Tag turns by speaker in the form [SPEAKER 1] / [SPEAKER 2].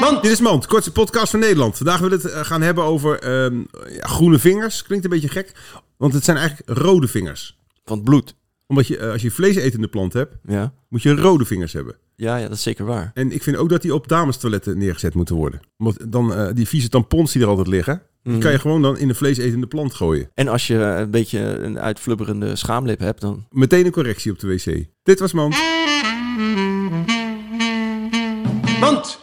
[SPEAKER 1] Mand.
[SPEAKER 2] Dit is Mand, kortste podcast van Nederland. Vandaag willen we het eh, gaan hebben over ehm, ja, groene vingers. Klinkt een beetje gek, want het zijn eigenlijk rode vingers.
[SPEAKER 1] Van het bloed.
[SPEAKER 2] Omdat je, eh, als je vleesetende plant hebt,
[SPEAKER 1] Ja.
[SPEAKER 2] moet je rode vingers hebben.
[SPEAKER 1] Ja, ja, dat is zeker waar.
[SPEAKER 2] En ik vind ook dat die op damestoiletten neergezet moeten worden. Omdat dan eh, die vieze tampons die er altijd liggen, die kan je gewoon dan in een vleesetende plant gooien.
[SPEAKER 1] En als je een beetje een uitflubberende schaamlip hebt, dan...
[SPEAKER 2] Meteen een correctie op de wc. Dit was Mand.
[SPEAKER 1] Mand!